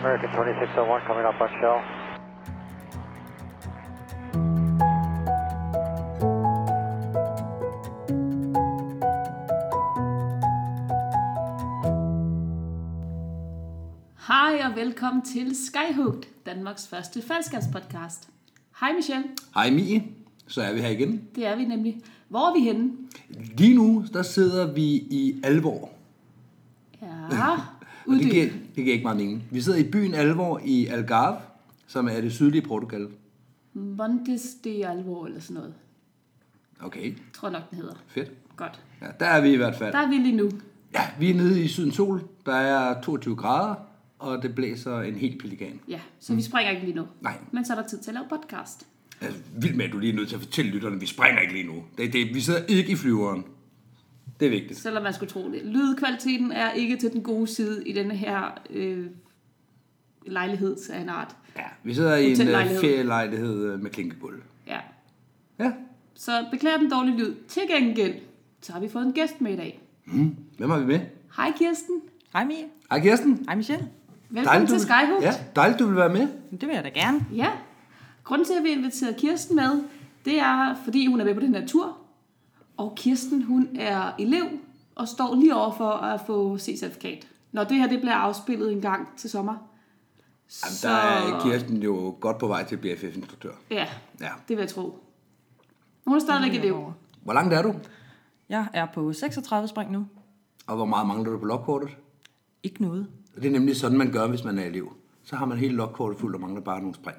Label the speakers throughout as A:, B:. A: American 2601 coming up on shell.
B: Hej og velkommen til Skyhooked, Danmarks første podcast. Hej Michelle,
C: Hej Mie, så er vi her igen.
B: det er vi nemlig. Hvor er vi henne?
C: Lige nu, der sidder vi i Alvor.
B: Ja,
C: Og det, giver,
B: uddyb.
C: det giver ikke meget mening. Vi sidder i byen Alvor i Algarve, som er det sydlige Portugal.
B: Montes de Alvor eller sådan noget.
C: Okay,
B: Tror jeg nok, den hedder.
C: fedt.
B: Godt.
C: Ja, der er vi i hvert fald.
B: Der er vi lige nu.
C: Ja, vi er nede i sydens sol. Der er 22 grader, og det blæser en hel pelikan.
B: Ja, så vi springer ikke lige nu.
C: Mm. Nej.
B: Men så er der tid til at lave podcast.
C: Altså, vildt med, at du lige er nødt til at fortælle lytterne, vi springer ikke lige nu. Det, det, vi sidder ikke i flyveren. Det er vigtigt.
B: Selvom man skulle tro det. Lydkvaliteten er ikke til den gode side i denne her øh, lejlighed af en art.
C: Ja, vi sidder i en
B: Hotellejlighed.
C: øh, ferielejlighed øh, med klinkegulv.
B: Ja.
C: Ja,
B: Så beklager den dårlige lyd. Til gengæld, så har vi fået en gæst med i dag.
C: hvem har vi med?
B: Hej Kirsten.
D: Hej Mie.
C: Hej Kirsten.
D: Hej Michelle.
B: Velkommen til
C: du vil-
B: Skyhook.
C: Ja, dejligt, du vil være med.
D: Det vil jeg da gerne.
B: Ja. Grunden til, at vi inviterede Kirsten med, det er, fordi hun er med på den her tur. Og Kirsten, hun er elev og står lige over for at få C-certifikat. Når det her det bliver afspillet en gang til sommer.
C: Jamen, der er Kirsten jo godt på vej til at blive FF-instruktør.
B: Ja,
C: Ja.
B: det vil jeg tro. Hun er stadigvæk elev.
C: Hvor langt er du?
D: Jeg er på 36 spring nu.
C: Og hvor meget mangler du på lokkortet?
D: Ikke noget.
C: Det er nemlig sådan, man gør, hvis man er elev. Så har man hele lokkortet fuldt og mangler bare nogle spring.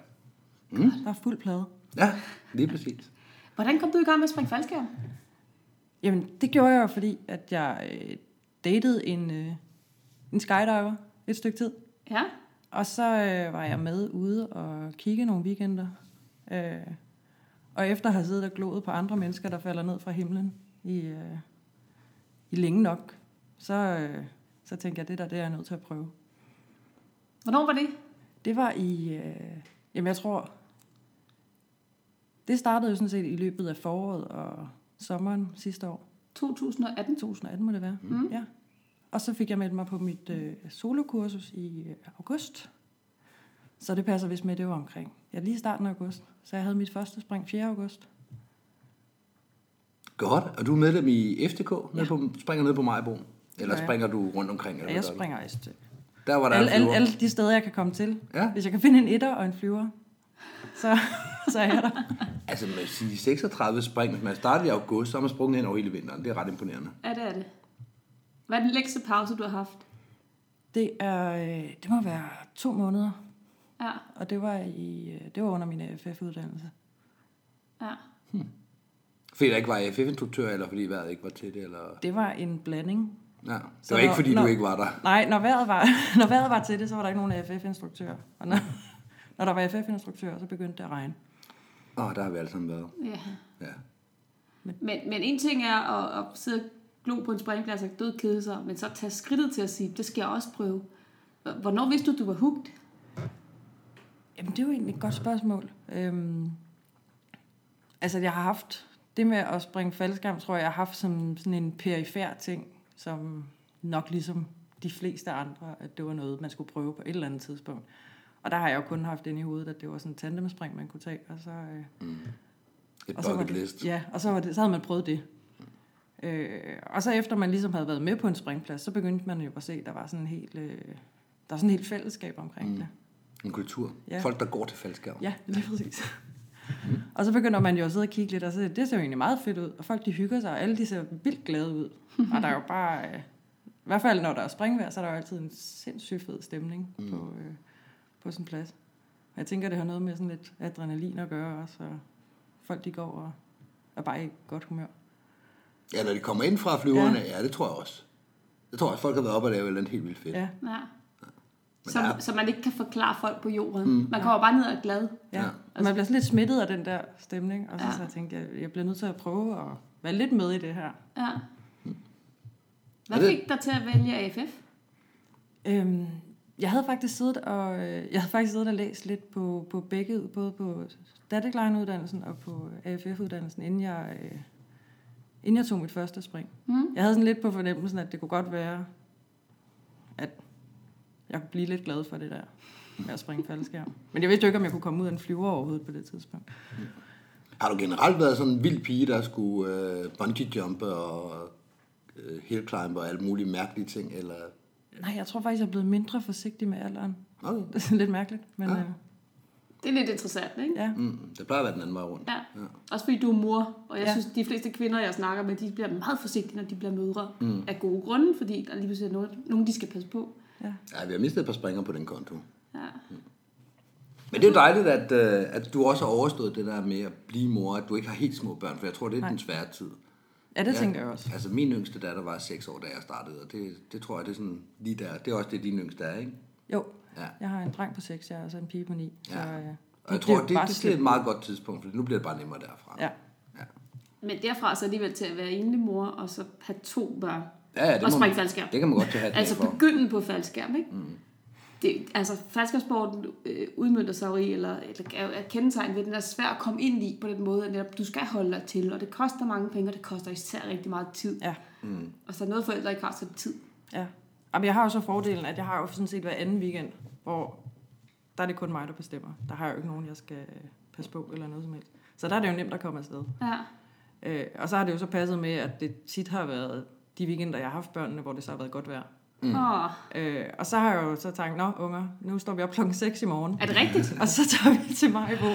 D: Der er fuld plade.
C: Ja, lige præcis.
B: Hvordan kom du i gang med at springe faldskærm?
D: Jamen, det gjorde jeg jo, fordi, at jeg øh, datede en, øh, en skydiver et stykke tid.
B: Ja,
D: Og så øh, var jeg med ude og kigge nogle weekender. Øh, og efter at have siddet og gloet på andre mennesker, der falder ned fra himlen i, øh, i længe nok, så, øh, så tænkte jeg, det der, det er jeg nødt til at prøve.
B: hvornår var det?
D: Det var i, øh, jamen jeg tror, det startede jo sådan set i løbet af foråret og sommeren sidste år.
B: 2018.
D: 2018 må det være. Mm. Ja. Og så fik jeg meldt mig på mit øh, solokursus i øh, august. Så det passer vist med, at det var omkring. Ja, lige i starten af august. Så jeg havde mit første spring 4. august.
C: Godt. Og du er medlem i FDK? Ja. På, springer ned på Majbo? Eller
D: Ja, ja.
C: springer du rundt omkring? Eller
D: Og jeg
C: hvad gør du?
D: springer i stykker.
C: Der var der
D: Alle,
C: alle,
D: alle, alle de steder, jeg kan komme til.
C: Ja.
D: Hvis jeg kan finde en etter og en flyver, så, så er jeg der.
C: Altså, man siger 36 spring. Hvis man starter i august, så har man sprunget hen over hele vinteren. Det er ret imponerende.
B: Ja, det er det. Hvad er den længste pause, du har haft?
D: Det, er, øh, det må være to måneder.
B: Ja,
D: Og det var, i, øh, det var under min FF-uddannelse.
B: ja.
C: Fordi der ikke var FF-instruktør, eller fordi vejret ikke var til det, eller...
D: Det var en blanding.
C: Ja. Det
D: Så
C: var
D: når-
C: ikke, fordi
D: når-
C: du ikke var der.
D: Nej, når vejret var, når vejret var til det, så var der ikke nogen FF-instruktører. Og når, når der var FF-instruktører, så begyndte det at regne.
C: Åh, oh, der har vi alle sammen været.
B: ja.
C: Ja.
B: Men, men en ting er at, at sidde og glo på en springplads og død kede sig, men så tage skridtet til at sige, det skal jeg også prøve. H- Hvornår vidste du, du var hugt?
D: Jamen, det er jo egentlig et godt spørgsmål. Øhm, altså, jeg har haft det med at springe faldskærm, tror jeg, jeg har haft som sådan en perifær ting, som nok ligesom de fleste andre, at det var noget, man skulle prøve på et eller andet tidspunkt. Og der har jeg jo kun haft ind i hovedet, at det var sådan en tandemspring, man kunne tage, og så... Øh,
C: Et
D: Og så, var
C: bucket
D: det,
C: list.
D: ja, og så, var det, så havde man prøvet det. Øh, og så efter man ligesom havde været med på en springplads, så begyndte man jo at se, at der var sådan en helt, øh, der er sådan en helt fællesskab omkring mm. det.
C: En kultur.
D: Ja.
C: Folk, der går til faldskærm.
D: Ja, lige præcis. og så begynder man jo at sidde og kigge lidt, og så det ser jo egentlig meget fedt ud, og folk de hygger sig, og alle de ser vildt glade ud. og der er jo bare, øh, i hvert fald når der er springvejr, så er der jo altid en sindssygt fed stemning mm. på, øh, på sådan en plads. Og jeg tænker, det har noget med sådan lidt adrenalin at gøre også, og folk de går og er bare i godt humør.
C: ja, når de kommer ind fra flyverne, ja. ja, det tror jeg også. Jeg tror også, folk har været oppe og lave et eller andet helt vildt fedt.
D: Ja.
B: Ja.
C: der
B: Som,
C: er-
B: som man ikke kan forklare folk på jorden. Mm, man kommer bare ned og er glad.
D: Ja.
C: Ja.
D: Og man bliver sådan lidt smittet af den der stemning, og så,
B: Ja.
D: ja. så tænkte jeg, jeg bliver nødt til at prøve at være lidt med i det her.
B: Ja. Hvad
C: Mm. Er det-
B: fik dig til at vælge AFF?
D: Øhm, jeg havde faktisk siddet og, øh, jeg havde faktisk siddet og læst lidt på, på begge, både på static line uddannelsen og på AFF uddannelsen, inden jeg, øh, inden jeg tog mit første spring.
B: Mm.
D: Jeg havde sådan lidt på fornemmelsen, at det kunne godt være, at jeg kunne blive lidt glad for det der med at springe faldskærm. Men jeg vidste jo ikke, om jeg kunne komme ud af en flyver overhovedet på det tidspunkt.
C: Har du generelt været sådan en vild pige, der skulle øh, bungee jumpe og øh, hillclimb og alt muligt mærkelige ting? Eller...
D: Nej, jeg tror faktisk, jeg er blevet mindre forsigtig med alderen.
C: Okay.
D: Det er sådan lidt mærkeligt, men
C: Ja.
D: ja. Øh,
B: Det er lidt interessant, ikke?
D: ja.
C: Mm, det plejer at være den anden vej rundt.
B: Ja. Også fordi du er mor, og jeg ja.
D: Ja.
B: synes, de fleste kvinder, jeg snakker med, de bliver meget forsigtige, når de bliver mødre. Mm. Af gode grunde, fordi der lige pludselig er nogen, nogen, de skal passe på.
D: ja.
C: Ja, vi har mistet et par springer på den konto. Mm.
B: Ja.
C: Men det er jo dejligt, at, øh, at du også har overstået det der med at blive mor, at du ikke har helt små børn, for jeg tror, det er den svære tid.
D: Ja, det ja. tænker jeg også.
C: Altså, min yngste datter var 6 år, da jeg startede, og det, det tror jeg, det er sådan lige der. Det er også det, din yngste er, ikke?
D: Jo,
C: Ja.
D: ja. jeg har en dreng på 6, jeg er altså en pige på 9. Så,
C: Ja.
D: øh,
C: Og jeg tror,
D: jo
C: det,
D: bare
C: det, det er
D: slidt.
C: et meget godt tidspunkt, for nu bliver det bare nemmere derfra.
D: Ja.
C: Ja,
B: Men derfra så alligevel til at være enlig mor, og så have to børn.
C: ja, ja det,
B: og
C: må
B: springe
C: man,
B: faldskærm.
C: det kan man godt tage hatten altså,
B: Altså
C: for.
B: begynde på faldskærm, ikke? Mm. Det, altså faldskærmsporten øh, udmyndter sig jo i, eller, eller er, er kendetegnet ved, at den er svær at komme ind i på den måde, at netop du skal holde dig til, og det koster mange penge, og det koster især rigtig meget tid.
D: Ja,
B: Og så er noget forældre ikke har så tid.
D: ja. Jamen, jeg har jo så fordelen, at jeg har jo sådan set hver anden weekend, hvor der er det kun mig, der bestemmer. Der har jeg jo ikke nogen, jeg skal øh, passe på eller noget som helst. Så der er det jo nemt at komme afsted.
B: Ja.
D: Øh, og så har det jo så passet med, at det tit har været de weekender, jeg har haft børnene, hvor det så har været godt vejr.
B: Mm. Åh,
D: Øh, og så har jeg jo så tænkt, nå unger, nu står vi op klokken 6 i morgen.
B: er det rigtigt?
D: Og så tager vi til Majbo.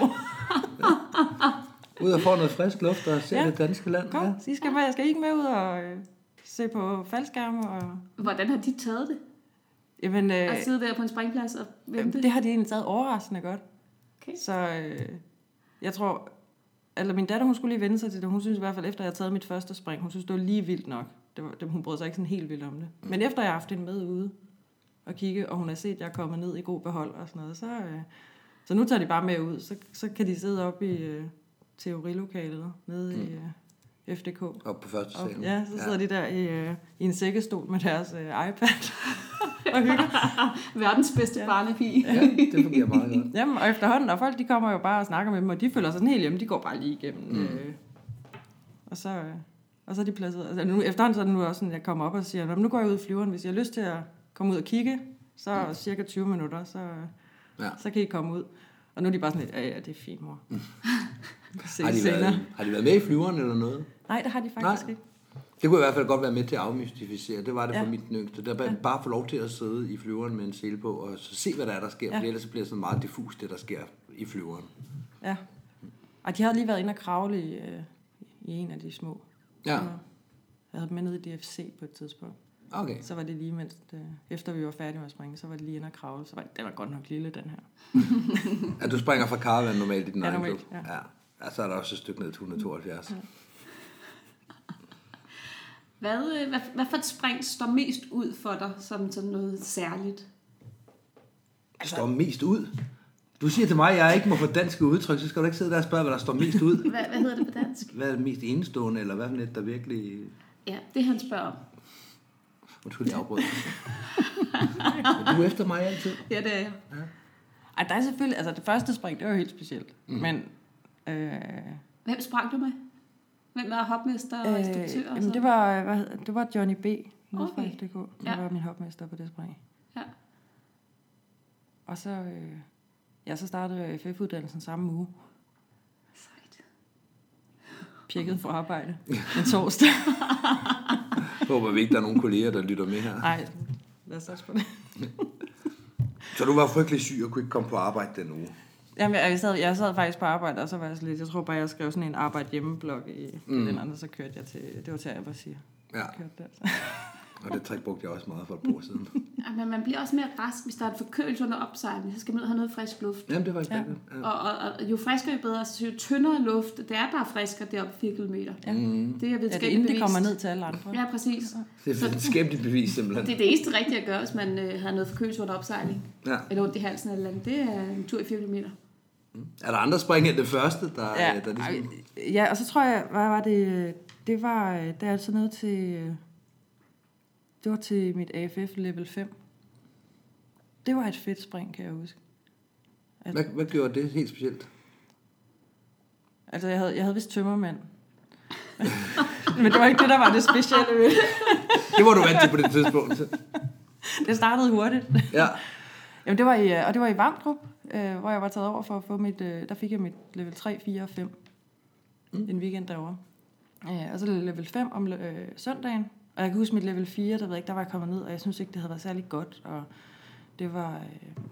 C: Ud og få noget frisk luft og se ja.
D: Ja.
C: det danske land.
D: Kom,
C: Ja.
D: I skal, med, skal I ikke med ud og øh, se på faldskærme? Og,
B: Hvordan har de taget det?
D: jamen, øh,
B: At sidde der på en springplads og
D: Jamen,
B: vente?
D: det har de egentlig taget overraskende godt.
B: Okay.
D: Så øh, jeg tror... Eller min datter, hun skulle lige vende sig til det. Hun synes i hvert fald, efter jeg havde taget mit første spring, hun synes, det var lige vildt nok. Det var, det, hun brød sig ikke sådan helt vildt om det. Men efter jeg har haft hende med ude og kigge, og hun har set, at jeg er kommet ned i god behold og sådan noget, så, øh, så nu tager de bare med ud. Så, så kan de sidde oppe i øh, teorilokalet nede mm. i øh, FDK.
C: Op på første
D: Og,
C: salen.
D: ja, så sidder ja. de der i, øh, i en sækkestol med deres øh, iPad og hygger.
B: Verdens bedste ja. barnepige.
C: Ja, det fungerer meget godt.
D: Jamen, og efterhånden, og folk de kommer jo bare og snakker med dem, og de føler sig sådan helt hjemme, de går bare lige igennem. Mm. Øh, og, så, øh, og så er de placeret. Altså, nu, efterhånden så er det nu også sådan, jeg kommer op og siger, "Nå, men nu går jeg ud i flyveren, hvis jeg har lyst til at komme ud og kigge, så mm. cirka 20 minutter, så,
C: Ja.
D: ja. så kan I komme ud. Og nu er de bare sådan lidt, ja, ja, det er fint, mor. Mm. Se
C: Har de,
D: senere.
C: været, har de været med i flyveren eller noget?
D: Nej, det har de faktisk
C: Nej.
D: Nej. ikke.
C: Det kunne i hvert fald godt være med til at afmystificere. Det var det ja. for
D: Ja.
C: mit den yngste. Der bare, bare få lov til at sidde i flyveren med en sele på, og så se, hvad der er, der sker. Ja.
D: Ja.
C: For ellers så bliver det sådan meget diffus, det der sker i flyveren.
D: Ja. Og de havde lige været inde og kravle i, øh, i en af de små.
C: Ja,
D: Jeg havde dem med ned i DFC på et tidspunkt.
C: okay.
D: Så var det lige, mens det, efter vi var færdige med at springe, så var det lige inde og kravle. Så var det, den var godt nok lille, den her.
C: At du springer fra karavan normalt i den
D: Ja,
C: egen klub.
D: normalt,
C: Ja. ja. Så er der også et stykke ned til 172. Ja.
B: Hvad, øh, hvad, hvad for et spring står mest ud for dig som sådan noget særligt?
C: Står mest ud? Du siger til mig, at jeg ikke må få danske udtryk, så skal du ikke sidde der og spørge, hvad der står mest ud.
B: Hvad, hvad hedder det på dansk?
C: Hvad er det mest enestående, eller hvad for net, der virkelig...
B: Ja, det han spørger om.
C: Undskyld, jeg afbrød. Men du er efter mig altid.
B: Ja, det er jeg.
D: Ej, der er selvfølgelig... Altså, det første spring, det var jo helt specielt. Mm. Men... Øh, øh,
B: Hvem sprang du med? Hvem var hopmester og instruktør? og
D: jamen,
B: sådan?
D: det var, hvad, hed- det var Johnny B. Nede fra
B: Okay.
D: FDK. Der
B: Ja.
D: var min hopmester på det spring.
B: Ja.
D: Og så... Øh, ja, så startede jeg FF-uddannelsen samme uge.
B: Sejt.
D: Pjekket fra arbejde. En torsdag.
C: Jeg håber vi ikke, der er nogen kolleger, der lytter med her.
D: Nej, lad os også på det.
C: Så du var frygtelig syg og kunne ikke komme på arbejde den uge.
D: Jamen, jeg, jeg, sad, jeg sad faktisk på arbejde, og så var jeg sådan lidt... Jeg tror bare, jeg skrev sådan en arbejde hjemmeblog i mm. den anden, så kørte jeg til... Det var til Albersia.
C: Ja,
D: Kørte altså. der, så.
C: og det trick brugte jeg også meget for et par år siden.
B: Ja, men man bliver også mere rask, hvis der er en forkølelse under opsejling. Så skal man ud og have noget frisk luft.
C: Jamen, det var ikke ja. ja.
B: Og, og, og, jo friskere, jo bedre. Så jo tyndere luft, det er der er friskere deroppe 4 km. Ja. Det er
D: Ja,
B: videnskabeligt
D: det er inden det
B: bevist.
D: kommer ned til alle andre.
B: Ja, præcis.
C: Det er et skæbtigt bevis, simpelthen.
B: Det er det eneste rigtige at gøre, hvis man øh, har noget forkølelse under opsejling.
C: Ja.
B: Eller ondt i halsen eller andet. Det er en tur i 4 km.
C: Er der andre spring end det første, der, ja.
D: Ja,
C: der ligesom...
D: ej, ja, og så tror jeg, hvad var det, øh, det var, øh, der er altså noget til, øh, det var til mit AFF level 5. Det var et fedt spring, kan jeg huske.
C: Hvad, hvad gjorde det helt specielt?
D: Altså, jeg havde, jeg havde vist tømmermand. Men det var ikke det, der var det specielle ved det.
C: Det var du vant til på det tidspunkt.
D: Det startede hurtigt.
C: Ja.
D: Jamen, det var i, øh, og det var i Vamdrup, øh, hvor jeg var taget over for at få mit... Øh, der fik jeg mit level 3, 4 og 5 mm. en weekend derovre. Øh, og så level 5 om øh, søndagen. Og jeg kan huske mit level 4, der, ved jeg ikke, der var jeg kommet ned, og jeg synes ikke, det havde været særlig godt. Og det var, øh,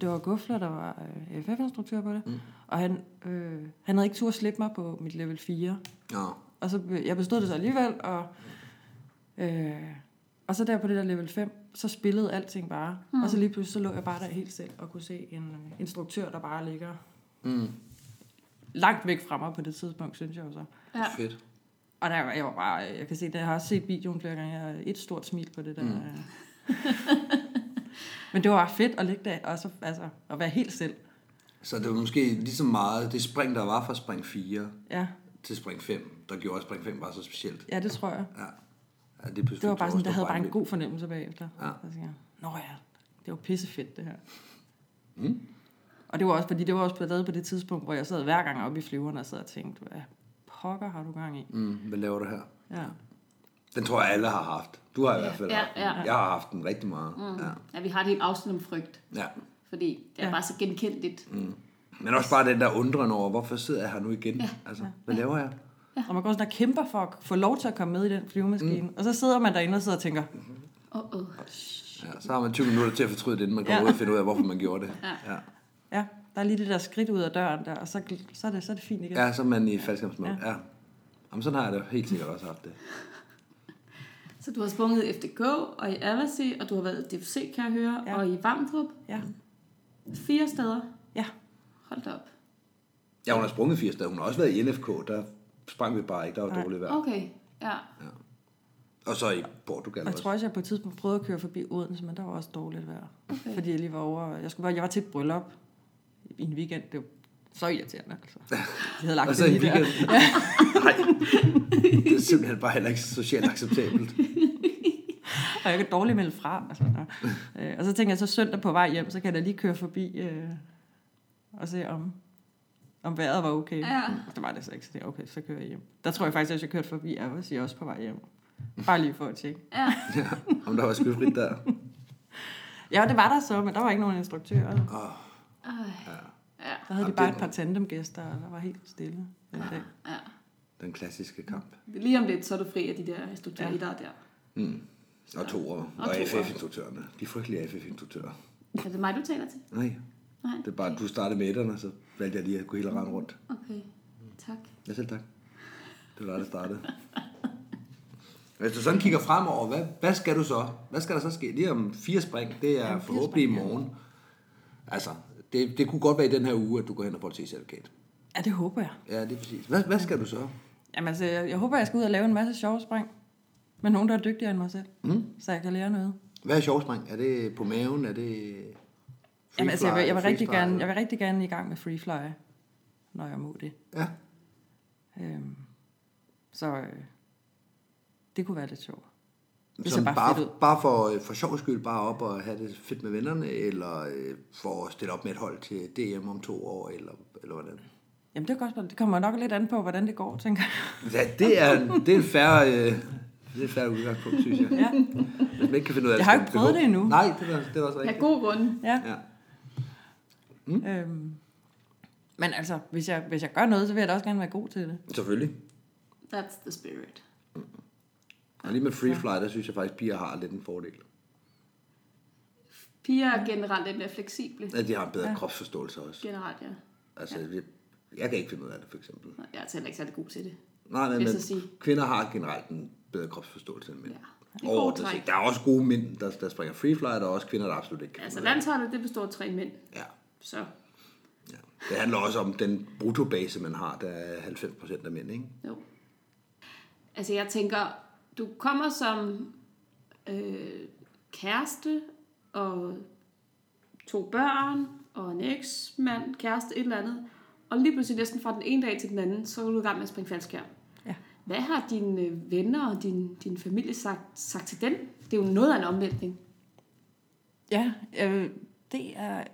D: det var Gufler, der var øh, FF-instruktør på det. Mm. Og han, øh, han havde ikke tur at slippe mig på mit level 4.
C: Nå.
D: Og så, be- jeg bestod det så alligevel, og, øh, og så der på det der level 5, så spillede alting bare. Mm. Og så lige pludselig, så lå jeg bare der helt selv og kunne se en øh, instruktør, der bare ligger
C: Mm.
D: langt væk fra mig på det tidspunkt, synes jeg jo så.
B: Ja.
C: Fedt.
D: Og der, var- jeg var bare, øh, jeg kan se, det, jeg har også set videoen flere gange, jeg har et stort smil på det der. Mm. Men det var bare fedt at ligge der, og så, altså, at være helt selv.
C: Så det var måske lige så meget det spring, der var fra spring 4
D: Ja,
C: til spring 5, der gjorde at spring 5 var så specielt.
D: ja det tror jeg.
C: Ja. ja det,
D: Det var bare sådan, der havde bare en god fornemmelse bagefter.
C: Ja.
D: Ja. Så tænkte jeg, nå ja, det var pissefedt det her. Mm. Og det var også, fordi det var også blevet lavet på det tidspunkt, hvor jeg sad hver gang oppe i flyveren og sad og tænkte, hvad pokker har du gang i?
C: Mm, hvad laver du her?
D: Ja.
C: Den tror jeg, alle har haft. Du har i hvert fald
B: Ja,
C: haft den.
B: ja.
C: Jeg har haft den rigtig meget. Mm. Ja.
B: ja, vi har et helt afsnit om frygt,
C: ja.
B: fordi det er ja.
D: Ja.
B: bare så genkendeligt. Mm.
C: Men også bare den der undren over, hvorfor sidder jeg her nu igen? Ja. Altså, hvad laver jeg?
D: Og man går sådan og kæmper for at få lov til at komme med i den flyvemaskine. Mm. Og så sidder man derinde og sidder og tænker,
B: Oh, oh.
C: Ja, så har man 20 minutter til at fortryde det, inden man går
D: Ja.
C: ud og finder ud af, hvorfor man gjorde det. Ja,
D: ja, der er lige det der skridt ud af døren der, og så, gl- så, er, det, så er det fint igen.
C: ja så er man i faldskabsmål. Ja. ja. Jamen, sådan har jeg da helt sikkert også haft det.
B: Så du har sprunget i FDK og i Avasi, og du har været i DFC, kan jeg høre, ja.
D: Ja.
B: og i Vamdrup.
D: Ja.
B: Fire steder.
D: ja.
B: Hold da op.
C: Ja, hun har sprunget 80 dage. Hun har også været i NFK. Der sprang vi bare ikke. Der var
D: Nej.
C: dårligt vejr.
B: Okay, ja.
C: Og så i Portugal
D: Og jeg
C: også.
D: tror også, jeg på et tidspunkt prøvede at køre forbi Odense, men der var også dårligt vejr.
B: Okay.
D: Okay. Fordi jeg lige var over. Jeg, skulle bare, jeg var til et bryllup i en weekend. Det var så irriterende. Altså. Jeg havde lagt
C: Og så
D: det
C: i
D: lige der.
C: weekend. Nej, det er simpelthen bare heller ikke socialt acceptabelt.
D: Og jeg kan dårligt melde fra. Altså, nå. Øh, og så tænkte jeg, så søndag på vej hjem, så kan jeg da lige køre forbi øh, og se om, om vejret var okay.
B: Ja.
D: Og Det var det så ikke, så det er okay, så kører jeg hjem. Der tror jeg faktisk, at jeg kørte forbi Avers, jeg er også på vej hjem. Bare lige for at tjekke.
C: Ja, om der var skyfrit der.
D: Ja, det var der så, men der var ikke nogen instruktører.
C: Åh.
B: Ja.
D: Der havde
C: Jamen,
D: de bare
C: det-
D: et par tandemgæster, og der var helt stille den dag.
B: ja.
C: Den klassiske kamp.
B: Lige om lidt, så er du fri af de der instruktører, ja.
D: Ja.
B: der er der.
C: Mm. Og to år. Og,
B: Og toer.
C: FF-instruktørerne. De frygtelige FF-instruktører.
B: Er det mig, du taler til?
C: Nej,
B: Nej.
C: det er bare, at du startede med etterne, så valgte jeg lige at gå hele rand rundt.
B: Okay, tak.
C: Ja, selv tak. Det var dig, der startede. Hvis du sådan kigger fremover, hvad, hvad skal du så? Hvad skal der så ske? Lige om fire spring, det er forhåbentlig i morgen. Altså, det, det kunne godt være i den her uge, at du går hen og får et C-certifikat.
D: Ja, det håber jeg.
C: Ja, det er præcis. Hvad, hvad skal du så?
D: Jamen altså, jeg, jeg håber, jeg skal ud og lave en masse sjove spring. Men nogen, der er dygtigere end mig selv. Mm. Så jeg kan lære noget.
C: Hvad er sjovspring? Er det på maven? Er det free
D: Jamen, altså, jeg, vil, jeg, vil
C: free
D: rigtig
C: fly?
D: gerne, jeg vil rigtig gerne i gang med freefly, når jeg må det.
C: Ja,
D: Øhm, så øh, det kunne være lidt sjovt. Det ser
C: Sådan
D: bare,
C: bare,
D: fedt ud.
C: bare for, øh, for sjov skyld, bare op og have det fedt med vennerne, eller øh, for at stille op med et hold til DM om to år, eller, eller hvordan?
D: Jamen, det, er godt, det kommer nok lidt an på, hvordan det går, tænker jeg.
C: Ja, det er, det er en færre, øh, det er en færre udgangspunkt, synes jeg.
D: Ja.
C: Hvis man ikke kan finde ud af
D: Jeg har
C: skal
D: ikke
C: man
D: prøvet
C: behøver-
D: det endnu.
C: Nej, det er, det er også
B: Ja,
C: rigtigt.
B: god runde.
D: ja.
C: Ja.
D: Øhm, men altså, hvis jeg, hvis jeg gør noget, så vil jeg da også gerne være god til det.
C: Selvfølgelig.
B: That's the spirit.
C: Og lige med free fly, der synes jeg faktisk, at piger har lidt en fordel.
B: Piger er generelt lidt mere fleksible.
C: At de har en bedre kropsforståelse også.
B: Generelt, ja.
C: Altså, jeg, jeg kan ikke finde ud af det, for eksempel.
B: Nå, Jeg er altså heller ikke særlig god til det.
C: Nej, nej,
B: vil jeg
C: men
B: så sige.
C: kvinder har generelt en bedre kropsforståelse end mænd.
B: Ja. Det er
C: Overordnet
B: gode
C: set.
B: træk.
C: Der er også gode mænd, der, der springer free fly, der er også kvinder, der absolut ikke kan
B: Altså,
C: finde ud af
B: landsholdet, det består af tre mænd.
C: det. ja.
B: Så,
C: ja. Det handler også om den bruttobase, man har, der er 90% af mænd, ikke?
B: jo. Altså, jeg tænker, du kommer som øh, kæreste og to børn og en eksmand, kæreste, et eller andet. Og lige pludselig næsten fra den ene dag til den anden, så er du i gang med at springe faldskærm.
D: Ja.
B: Hvad har dine øh, venner og din, din familie sagt, sagt til den? Det er jo noget af en omvæltning.
D: Ja, øh, det er...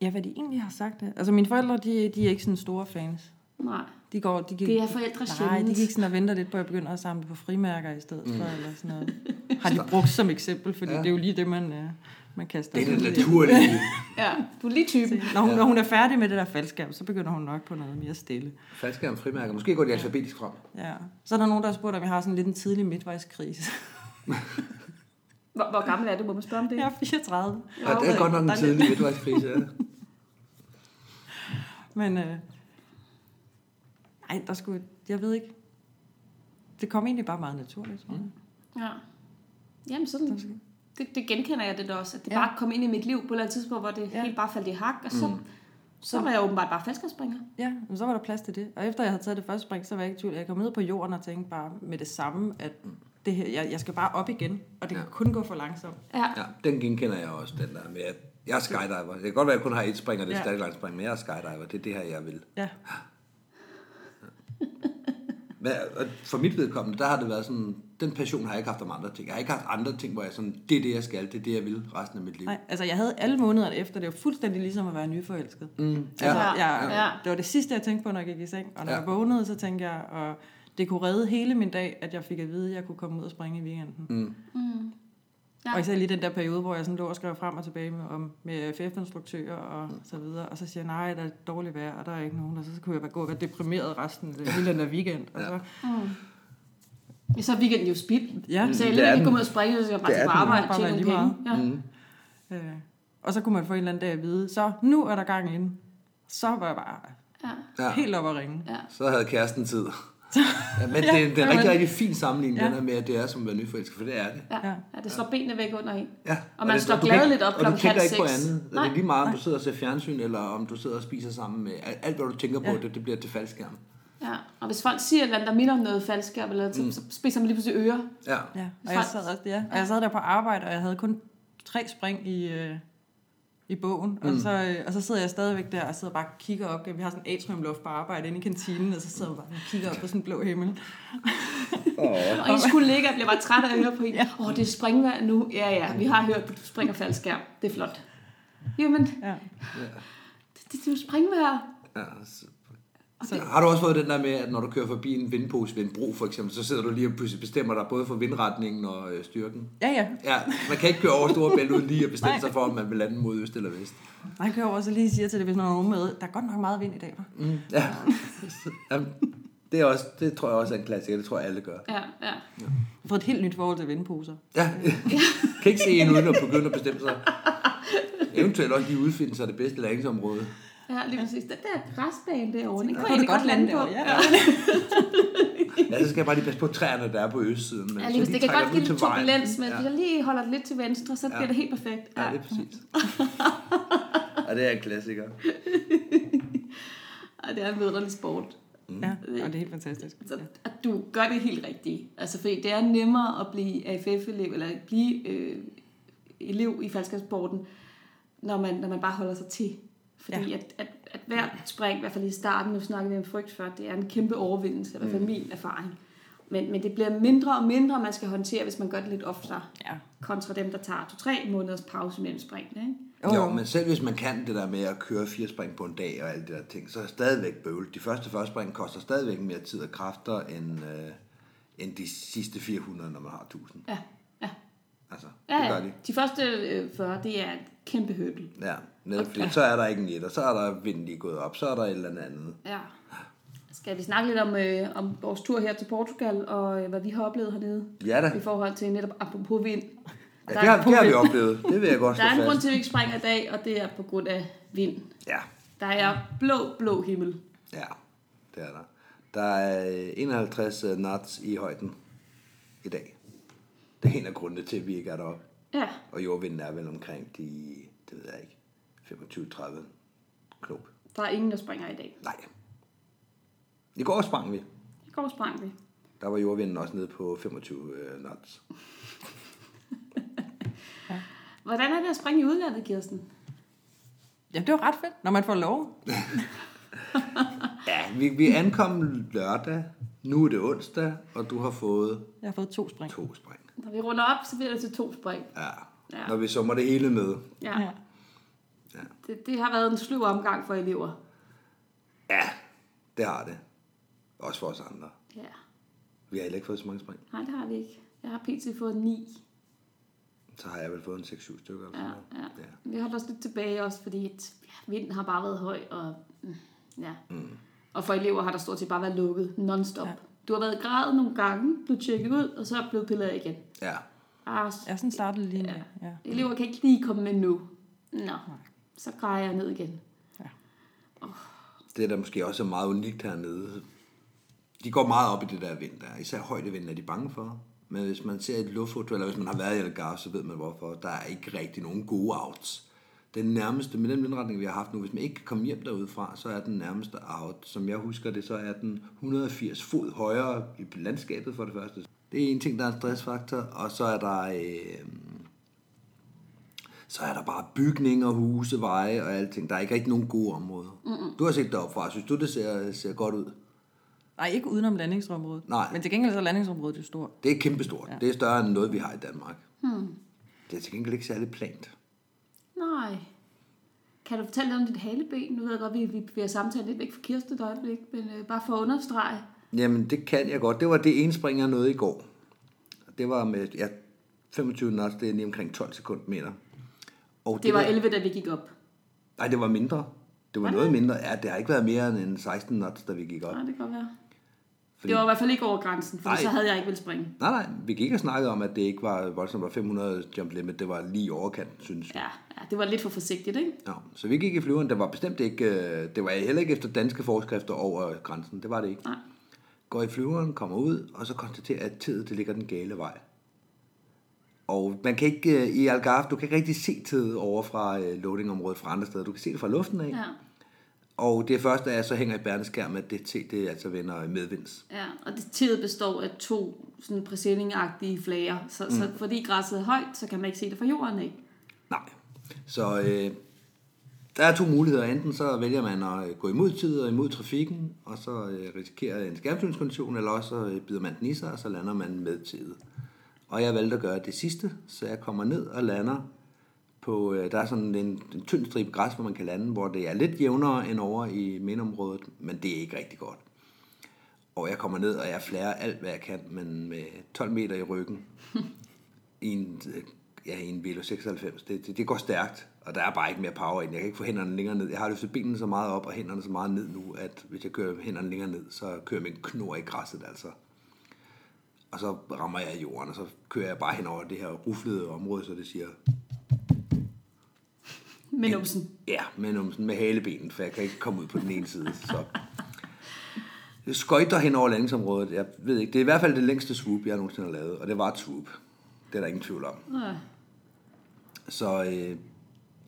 D: Ja, hvad de egentlig har sagt. Det. Altså, mine forældre, de, de er ikke sådan store fans.
B: Nej.
D: De går, de gik,
B: Det er forældre
D: Nej, de
B: sjældent.
D: gik sådan og venter lidt på, at jeg begynder at samle på frimærker i stedet for,
C: Mm.
D: eller sådan noget. Har de brugt som eksempel, fordi ja. det er jo lige det, man, øh, man kaster.
C: Det er
D: sig
C: det
D: ud i.
C: naturlige.
B: Ja, du er lige typen.
D: Når hun, når hun er færdig med det der faldskærm, så begynder hun nok på noget mere stille.
C: Faldskærm, frimærker. Måske går de alfabetisk frem.
D: Ja. Så er der nogen, der har spurgt, om jeg har sådan lidt en tidlig midtvejskrise.
B: Hvor, hvor gammel er du? Må man spørge om det?
D: jeg er 34.
C: Ja, det er godt nok
D: Der
C: en
D: lidt-
C: tidlig midtvejskrise. Ja.
D: Men øh, ej, der skulle, jeg ved ikke. Det kom egentlig bare meget naturligt, tror jeg.
B: Ja. Jamen sådan, det, det genkender jeg det da også, at det ja. bare kom ind i mit liv på et eller andet tidspunkt, hvor det ja.
D: Ja.
B: helt bare faldt i hak, og så, mm. så var jeg åbenbart bare faldskabsspringer.
D: Ja, men så var der plads til det. Og efter jeg havde taget det første spring, så var jeg ikke i tvivl. Jeg kom ned på jorden og tænkte bare med det samme, at det her, jeg, jeg skal bare op igen, og det ja. kan kun gå for langsomt.
B: Ja.
C: ja, den genkender jeg også, den der med, at jeg er skydiver. Det kan godt være, at jeg kun har et spring, og det er
D: Ja.
C: ja. stærklangspring, men jeg er skydiver. Det er det her, jeg vil.
D: Ja,
C: Hvad, og for mit vedkommende, der har det været sådan, den passion har jeg ikke haft om andre ting. Jeg har ikke haft andre ting, hvor jeg sådan, det er det, jeg skal, det er det, jeg vil resten af mit liv.
D: nej, altså jeg havde alle månederne efter, det var fuldstændig ligesom at være nyforelsket. Mm,
C: ja.
D: altså,
B: Ja,
D: jeg,
B: ja.
D: Det var det sidste, jeg tænkte på, når jeg gik i seng. Og når
C: Ja.
D: ja. jeg vågnede, så tænkte jeg, og det kunne redde hele min dag, at jeg fik at vide, at jeg kunne komme ud og springe i weekenden. Mm.
B: Ja.
D: Og især lige den der periode, hvor jeg sådan lå og skrev frem og tilbage med, om, med FF-instruktører og så videre, og så siger jeg, nej, der er dårligt vejr, og der er ikke nogen, og så kunne jeg bare gå og være deprimeret resten af hele den der weekend. Og så,
B: Men Så er weekenden jo spild.
D: Ja.
B: Så jeg
C: Mm. Det er
B: lige
C: den.
B: ikke komme ud og springe, så skal jeg bare
C: Det er
B: til på
C: den.
B: arbejde og
D: Bare
B: tjene
D: være
B: nogle
D: lige
B: penge. Ja.
D: øh, og så kunne man få en eller anden dag at vide, så nu er der gang inde. Så var jeg bare
B: Ja.
C: Ja.
D: helt op at ringe.
B: Ja.
C: Så havde kæresten tid. Ja, men det, det er en rigtig, rigtig fin sammenligning, ja.
D: Ja.
C: den her med, at det er som at være nyforelsket, for det er det.
B: Ja.
D: Ja.
B: ja, det slår benene væk under en.
C: Ja,
B: Og man
C: det-
B: står
C: du
B: glad
C: kan-
B: lidt op
C: og
B: klokken
C: du tænker
B: halv
C: ikke på
B: seks.
C: andet. Nej.
B: Nej.
C: Det er lige meget, om du sidder og ser fjernsyn, eller om du sidder og spiser sammen med alt, alt hvad du tænker på, ja. det, det bliver til faldskærm.
B: Ja. Og hvis folk siger et eller andet, der minder om noget faldskærm, eller,
C: Mm.
B: så, så spiser man lige pludselig ører.
C: Ja.
D: Ja, og jeg, sad, ja, og jeg sad der på arbejde, og jeg havde kun tre spring i, øh, i bogen. Og, så, øh, og så sidder jeg stadigvæk der og sidder bare og kigger op. Vi har sådan en atriumluft på arbejde inde i kantinen, og så sidder jeg bare og kigger op på sådan en blå himmel.
B: Og I skulle ligge og blive bare træt af at høre på en. Åh, ja. oh, det er springvejr nu. Ja, ja, vi har hørt, at du springer faldskærm. Det er flot. Jamen,
D: Ja.
B: det, det er jo springvejr.
C: ja. Så. Så. Har du også fået den der med, at når du kører forbi en vindpose ved en bro for eksempel, så sidder du lige og pludselig bestemmer dig både for vindretningen og øh, styrken?
D: Ja, ja.
C: Ja, man kan ikke køre over store bælte uden lige at bestemme sig for, om man vil lande mod øst eller vest.
D: Og han kører over og så lige siger til det, hvis man har nogen med, der er godt nok meget vind i dag, hva'?
C: Ja. Jamen, det, er også, det tror jeg også er en klassiker, det tror jeg alle gør.
B: Ja, ja.
D: Jeg har fået et helt nyt forhold til vindposer.
C: Ja. kan ikke se en uden at begynde at bestemme sig. Eventuelt også lige udfinde sig det bedste landingsområde.
B: Ja, lige præcis. Den der græsbane derovre, den
D: Der
B: kunne
D: kunne
B: jeg
D: det
B: godt lande på.
D: Ja.
B: Ja,
C: Ja, så skal jeg bare lige passe på træerne, der er på østsiden. Men
B: lige præcis. Det kan godt give lidt turbulens, men
C: ja.
B: hvis jeg lige holder det lidt til venstre, så bliver det helt perfekt.
C: ja,
B: Ja.
C: det er præcis. Ja, det er en klassiker.
B: Og det er en vidunderlig sport.
D: ja, og det er helt fantastisk.
B: Så, at du gør det helt rigtigt. Altså, fordi det er nemmere at blive AFF-elev, eller at blive øh, elev i faldskabssporten, når man, når man bare holder sig til. Fordi ja. at, at, at hvert spring, i hvert fald i starten, nu snakkede vi om frygt før, det er en kæmpe overvindelse, i hvert
C: Mm.
B: fald min erfaring. Men, men det bliver mindre og mindre, man skal håndtere, hvis man gør det lidt oftere.
D: Ja.
B: Kontra dem, der tager to-tre måneders pause mellem springene. Ikke?
C: Oh. Jo, men selv hvis man kan det der med at køre fire spring på en dag og alle de der ting, så er det stadigvæk bøvlet. De første første spring koster stadigvæk mere tid og kræfter end, øh, end de sidste 400, når man har 1000.
B: Ja, ja.
C: Altså, det
B: ja,
C: gør
B: ja.
C: de.
B: De første øh, 40, det er et kæmpe høbel.
C: Ja, netop fordi så er der ikke en etter, så er der vinden lige gået op, så er der et eller andet.
B: Ja. Skal vi snakke lidt om, øh, om vores tur her til Portugal, og øh, hvad vi har oplevet hernede?
C: Ja da.
B: I forhold til netop apropos vind.
C: Ja,
B: Der
C: det,
B: er-
C: har, det har vi oplevet. Det vil jeg godt
B: Der
C: slå
B: er en grund
C: fast.
B: til, at vi ikke springer i dag, og det er på grund af vind.
C: Ja,
B: Der er blå, blå himmel.
C: ja, det er der. Der er øh, 51 knots i højden i dag. Det er en af grundene til, at vi ikke er deroppe.
B: Ja,
C: Og jordvinden er vel omkring de, det ved jeg ikke, 25-30 knop.
B: der er ingen, der springer i dag.
C: Nej. I går sprang vi.
B: I går sprang vi.
C: Der var jordvinden også nede på 25 øh, knots.
B: Hvordan er det at springe i udlandet, Kirsten?
D: ja, det var ret fedt, når man får lov.
C: Ja, vi, vi ankom lørdag. Nu er det onsdag, og du har fået
D: Jeg har fået to spring.
C: to spring.
B: Når vi runder op, så bliver det til to spring.
C: Ja.
B: Ja.
C: ja. Når vi summer det hele med.
B: Ja. ja. Det, det har været en sløv omgang for elever.
C: Ja, det har det. Også for os andre.
B: Ja.
C: Vi har heller ikke fået så mange spring.
B: Nej, det har vi ikke. Jeg har pt. fået 9.
C: Så har jeg vel fået en 6-7 stykker. Eller
B: Ja,
C: sådan noget.
B: ja. Vi holdt os lidt tilbage også, fordi at, ja, vinden har bare været høj. Og, mm, ja. mm. og for elever har der stort set bare været lukket non-stop. Ja. Du har været i grad nogle gange, blevet tjekket ud, og så er blevet pillet af igen.
C: ja.
B: Ah,
D: Jeg er sådan startet lige med. Ja.
B: Elever kan ikke lige komme med nu. Nå, så græder jeg ned igen.
C: Det, der måske også er meget unikt hernede, de går meget op i det der vind der. Især højdevind er de bange for. Men hvis man ser et luftfoto, eller hvis man har været i Algarve, så ved man hvorfor. Der er ikke rigtig nogen gode outs. Den nærmeste, med den vindretning, vi har haft nu, hvis man ikke kan komme hjem derudefra, så er den nærmeste out. Som jeg husker det, så er den 180 fod højere i landskabet for det første. Det er en ting, der er en stressfaktor. Og så er der... Øh, så er der bare bygninger, huse, veje og alting. Der er ikke rigtig nogen gode områder. Mm-mm. Du har set deroppe fra. Synes du, det ser, ser godt ud?
D: Nej, ikke udenom landingsområdet.
C: Nej.
D: Men til gengæld så er landingsområdet jo stort.
C: Det er kæmpestort. Ja. Det er større end noget, vi har i Danmark. Hmm. Det er til gengæld ikke særlig plant.
B: Nej. Kan du fortælle lidt om dit haleben? Nu ved jeg godt, vi, vi, vi har samtalt lidt væk fra Kirsten et øjeblik, men øh, bare for at understrege.
C: Jamen, det kan jeg godt. Det var det ene spring, jeg nåede i går. Det var med ja, 25 knots, det er lige omkring 12 sekundmeter. Og
B: Det var
C: der-
B: 11, da vi gik op.
C: Nej, det var mindre. Det var noget mindre. Ja, det har ikke været mere end 16 knots, da vi gik op.
B: Nej, det kan godt være.
C: Fordi-
B: Det var i hvert fald ikke over grænsen, for
C: Nej.
B: så havde jeg ikke vel springe.
C: Nej, nej, vi gik ikke og snakkede om, at det ikke var voldsomt, var 500 jump limit, det var lige i overkanten, synes vi.
B: Ja, ja, det var lidt for forsigtigt, ikke?
C: Ja, så vi gik i flyveren. Det var bestemt ikke, øh, det var heller ikke efter danske forskrifter over grænsen. Det var det ikke.
B: Nej.
C: Går i flyveren, kommer ud, og så konstaterer, at tid, det ligger den gale vej. Og man kan ikke, øh, i Algarve, du kan ikke rigtig se tid over fra øh, loadingområdet fra andre steder. Du kan se det fra luften af.
B: Ja,
C: Og det første er, så hænger i bærendeskærm, at det tid, det altså vender medvinds.
B: ja. Og det tæet består af to sådan præsendingagtige flager, så, mm. så fordi græsset er højt, så kan man ikke se det fra jorden af.
C: Nej. Så øh, der er to muligheder. Enten så vælger man at øh, gå imod tid og imod trafikken, og så øh, risikerer en skærmsynskondition, eller også så øh, bider man den i sig, og så lander man med tid. Og jeg valgte at gøre det sidste, så jeg kommer ned og lander på, øh, der er sådan en, en tynd stribe græs, hvor man kan lande, hvor det er lidt jævnere end over i mindområdet, men det er ikke rigtig godt. Og jeg kommer ned, og jeg flærer alt, hvad jeg kan, men med 12 meter i ryggen, i en, øh, ja, i en Velo 96. Det, det, det går stærkt, og der er bare ikke mere power ind. Jeg kan ikke få hænderne længere ned. Jeg har løftet benene så meget op og hænderne så meget ned nu, at hvis jeg kører hænderne længere ned, så kører min knor i græsset altså. Og så rammer jeg jorden, og så kører jeg bare hen over det her ruflede område, så det siger,
B: Men numsen.
C: ja, med, numsen, med halebenen, for jeg kan ikke komme ud på den ene side. Så. Jeg skøjter hen over landingsområdet. Jeg ved ikke, det er i hvert fald det længste swoop, jeg nogensinde har lavet, og det var et swoop. Det er der ingen tvivl om.
B: Ja.
C: Så øh,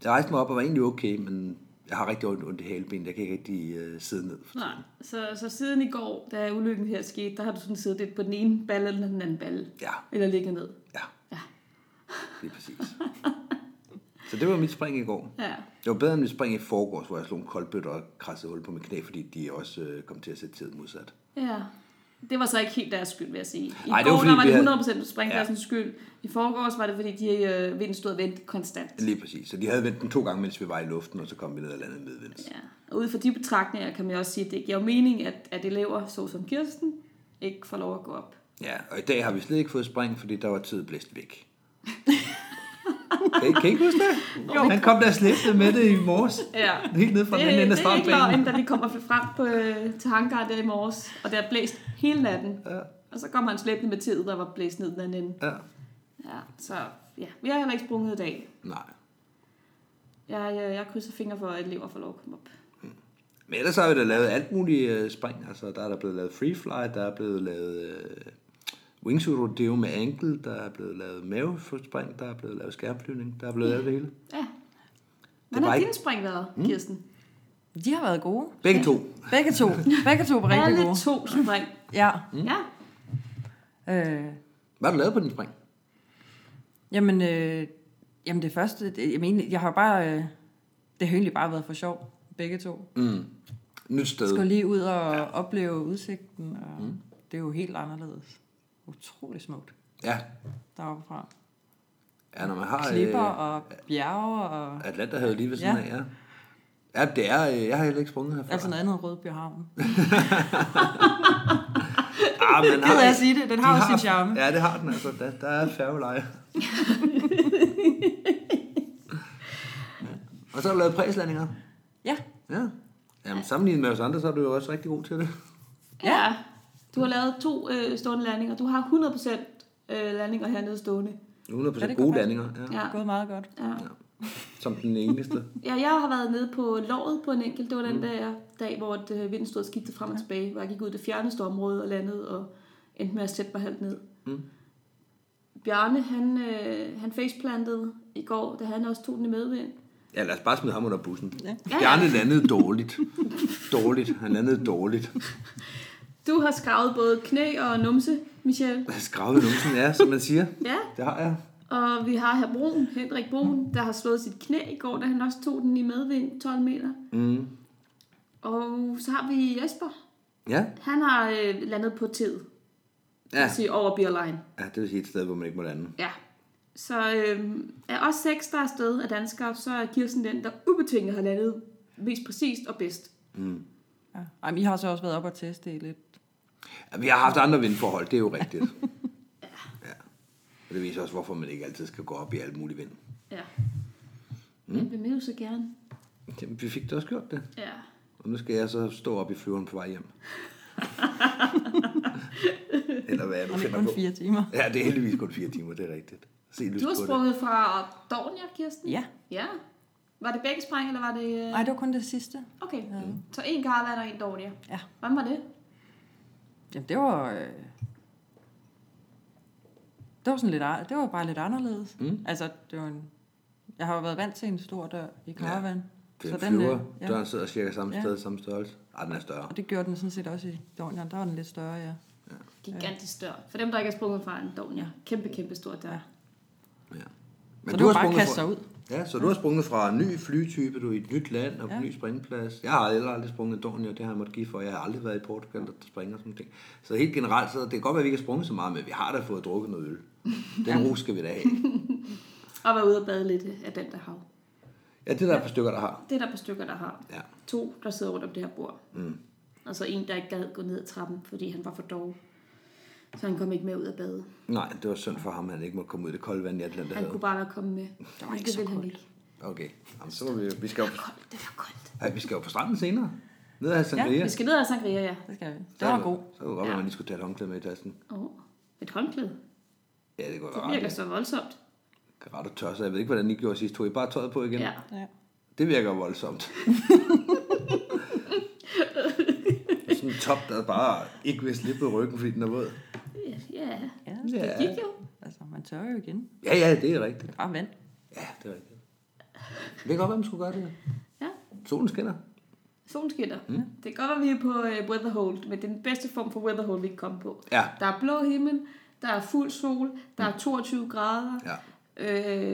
C: jeg rejste mig op og var egentlig okay, men jeg har rigtig ondt, ondt i halebenet. Jeg kan ikke rigtig øh, sidde ned.
B: Nej, så, så siden i går, da ulykken her skete, der har du sådan siddet lidt på den ene balle eller den anden balle.
C: Ja.
B: Eller ligget ned.
C: Ja,
B: Ja.
C: det er præcis. Så det var mit spring i går.
B: Ja.
C: Det var bedre end mit spring i forgårs, hvor jeg slog en koldbøtte og kradsede hul på mit knæ, fordi de også øh, kom til at sætte tid modsat.
B: Ja. Det var så ikke helt deres skyld, vil jeg sige. I
C: Ej, det
B: går
C: var fordi,
B: der var
C: vi
B: det
C: havde-
B: 100% på springpladsens ja. skyld. I forgårs var det, fordi de øh, vinden stod og vendte konstant.
C: Lige præcis. Så de havde vendt den to gange, mens vi var i luften, og så kom vi ned og landede medvinds.
B: Ja. Og ud fra de betragtninger kan man jo også sige, at det giver jo mening, at, at elever, såsom Kirsten, ikke får lov at gå op.
C: Ja, og i dag har vi slet ikke fået spring, fordi der var tid blæst væk. kan, I, kan I ikke huske det? Jo. Han kom der slæbte med det i morges.
B: Ja.
C: Helt ned fra den anden ende af
B: det er ikke løgn,
C: strandbanen.
B: da vi kommer frem på, øh, til hangar der i morges, og der er blæst hele natten. Ja. Og så kommer han slæbende med tid, der var blæst ned den anden ende.
C: Ja.
B: Ja, så ja, vi har heller ikke sprunget i dag.
C: Nej.
B: Jeg, jeg, jeg krydser fingre for, at elever får lov at komme op.
C: Men ellers har vi da lavet alt muligt øh, spring. Altså, der er der blevet lavet free fly, der er blevet lavet øh, wingsuit rodeo med ankle, der er blevet lavet mavespring, der er blevet lavet skærmflyvning, der er blevet lavet det hele.
B: Ja. Hvordan
C: var
B: har
C: ikke- Mm.
B: din spring været, Kirsten?
D: De har været gode.
C: Begge to.
D: Begge to. Begge to var rigtig
B: Alle
D: gode.
B: to spring.
D: Ja.
B: Mm. Ja.
D: Øh,
C: Hvad har du lavet på din spring?
D: jamen, øh, jamen, det første... Det, jeg mener, jeg har jo bare... Øh, det har egentlig bare været for sjov. Begge to.
C: Mm. Nyt sted.
D: Skulle lige ud og ja. opleve udsigten. Og mm. Det er jo helt anderledes. Utrolig smukt
C: Ja.
D: deroppe fra.
C: ja, når man har... øh,
D: Klipper og bjerge og...
C: Atlanta havde lige ved siden
D: Ja.
C: af, ja. Ja, det er... Øh, jeg har heller ikke sprunget herfra.
D: Altså noget andet end Rødby Havn.
C: Ah, men
D: Ked af at sige det, den har jo sin charme.
C: Ja, det har den altså. Der, der er færgeleje. og så har du lavet præslandinger.
D: Ja.
C: Ja. Jamen, sammenlignet med os andre, så er du jo også rigtig god til det.
B: Ja. Du har lavet to øh, stående landinger. Du har 100% øh, landinger hernede stående.
C: 100%
D: Ja, det går
C: gode
D: faktisk.
C: landinger, ja.
B: Ja.
D: Det er gået meget godt.
B: Ja.
C: Som den eneste.
B: ja, jeg har været nede på lovet på en enkelt. Det var den der dag, hvor et, øh, vinden stod og skidte frem og tilbage. Hvor jeg gik ud i det fjerneste område og landede og endte med at sætte mig halvt ned. Bjarne, han, øh, han faceplantede i går, da han også tog den i medvind.
C: Ja, lad os bare smide ham under bussen. Ja.
B: ja.
C: Bjarne landede dårligt. dårligt. Han landede dårligt.
B: Du har skravet både knæ og numse, Michelle.
C: Jeg skravede numsen, ja, som man siger.
B: Ja,
C: Det har jeg.
B: og vi har her Brun, Henrik Brun, der har slået sit knæ i går, da han også tog den i medvind 12 meter.
C: Mm.
B: Og så har vi Jesper.
C: Ja.
B: Han har øh, landet på tid, ja.
C: Ja.
B: sige over beerline.
C: ja, det vil sige et sted, hvor man ikke må lande.
B: Ja. Så øh, af os seks, der er afsted af danskere, så er Kirsten den, der ubetinget har landet mest præcist og bedst.
D: Ja. Ej, men I har så også været op og teste det lidt.
C: Ja, vi har haft andre vindforhold, det er jo rigtigt. ja. Og det viser også, hvorfor man ikke altid skal gå op i alt muligt vind.
B: Ja. Mm. Men vi vil jo så gerne.
C: Jamen, vi fik da også gjort det.
B: Ja.
C: Og nu skal jeg så stå op i flyveren på vej hjem. Eller hvad er
D: Og
C: du
D: det er
C: finder
D: kun
C: på?
D: fire timer.
C: Ja, det er heldigvis kun fire timer, det er rigtigt. Se lys
B: Du har
C: på det.
B: sprunget fra Dornier, Kirsten?
D: Ja.
B: Ja. Var det begge spring, eller var det... øh,
D: Nej, det var kun det sidste.
B: Okay, så en Garland og en Dornier.
D: Ja.
B: Hvordan var det?
D: Jamen, det var... Øh... Det var sådan lidt... a- Det var bare lidt anderledes. Mm. Altså, det var en... Jeg har jo været vant til en stor dør i caravan.
C: Det er en flyver.
D: øh,
C: Ja. Døren sidder cirka samme
D: Ja.
C: sted, samme størrelse. Ej, den er større.
D: Og det gjorde den sådan set også i Dornier. Der var den lidt større, ja.
B: Gigantisk dør. For dem, der ikke har sprunget fra en Dornier. Kæmpe, kæmpe stor dør.
D: Ja.
C: Ja.
D: Men så det var bare at
C: sprunget
D: kaste
C: fra,
D: sig ud.
C: Ja, så du har sprunget fra en ny flytype, du er i et nyt land og på en ny springplads. Jeg har heller aldrig sprunget en Dornier, det har jeg måttet give for. Jeg har aldrig været i Portugal, der springer sådan ting. Så helt generelt, så det kan godt være, at vi ikke har sprunget så meget, men vi har da fået drukket noget øl. Den ro skal vi da have.
B: Og var ude og bade lidt af den, der hav.
C: Ja, det er der er et par stykker, der har.
B: Det er der på stykker, der har.
C: Ja.
B: To, der sidder rundt om det her bord. Mm. Og så en, der ikke gad gå ned ad trappen, fordi han var for dog. Så han kom ikke med ud at bade.
C: Nej, det var synd for ham, at han ikke måtte komme ud i det kolde vand i
B: Han kunne
C: Atlanterhavet.
B: bare være kommet med. Det
D: var ikke så
B: ville han
D: koldt.
B: ikke.
C: Okay, Jamen, så må vi, vi skal jo på,
B: Koldt, det var koldt.
C: ja, vi skal jo på stranden senere. Ned ad Sangria.
B: Vi skal ned ad Sangria, ja.
D: Det skal vi. Det var god.
C: Så kunne det godt være, at man lige skulle tage et håndklæde med i tasken.
B: Åh, et håndklæde.
C: Ja, det kunne
B: Det
C: være rart.
B: virker så voldsomt.
C: Det er ret at tørre, så jeg ved ikke, hvordan I gjorde sidst. Tog I bare tøjet på igen?
B: Ja.
D: Ja.
C: Det virker voldsomt. sådan en top, der bare ikke vil slippe ryggen, fordi den er våd.
B: Ja, ja.
D: Ja.
B: det
C: Ja.
B: gik jo.
D: Altså, man tør jo igen.
C: Ja, ja, det er rigtigt.
D: Bare vand.
C: Ja, det er rigtigt. Det kan godt være, man skulle gøre det.
B: Ja.
C: Solen skinner.
B: Solen skinner. Mm. Det kan godt være, vi er på øh, Weatherhold, men det er den bedste form for Weatherhold, vi kan komme på.
C: Ja.
B: Der er blå himmel, der er fuld sol, der er 22 grader.
C: Ja.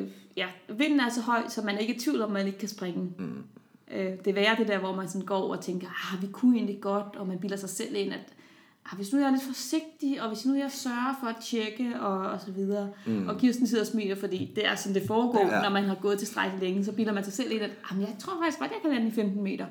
B: Øh, ja. Vinden er så høj, så man er ikke i tvivl om, man ikke kan springe. Mm. Øh, det er værre det der, hvor man sådan går over og tænker, ah, vi kunne egentlig godt, og man bilder sig selv ind, at ah, hvis nu jeg er lidt forsigtig, og hvis nu jeg sørger for at tjekke, og, og så videre. Mm. Og Kirsten sidder og smiler, fordi det er sådan, det foregår, ja.
C: Ja.
B: når man har gået til stræk længe, så bilder man sig selv ind, at ah, men jeg tror faktisk godt, jeg kan lande i 15 meter.